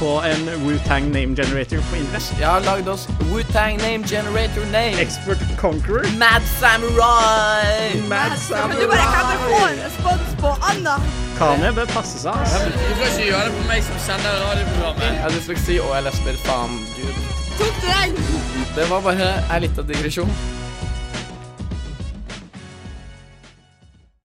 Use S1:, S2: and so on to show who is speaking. S1: på en Wu-Tang name generator på Invest.
S2: Jeg har lagd oss Wu-Tang Name Generator Name.
S1: Expert Conqueror.
S2: Mad Samurai.
S1: Mad
S3: Men du bare kan ikke få en respons på Anna.
S1: Kanye bør passe seg. Altså.
S4: Du skal ikke gjøre det på meg som sender radioprogrammet.
S2: Jeg har dysleksi og jeg leser faen gud.
S3: Tok du den?
S2: Det var bare ei lita digresjon.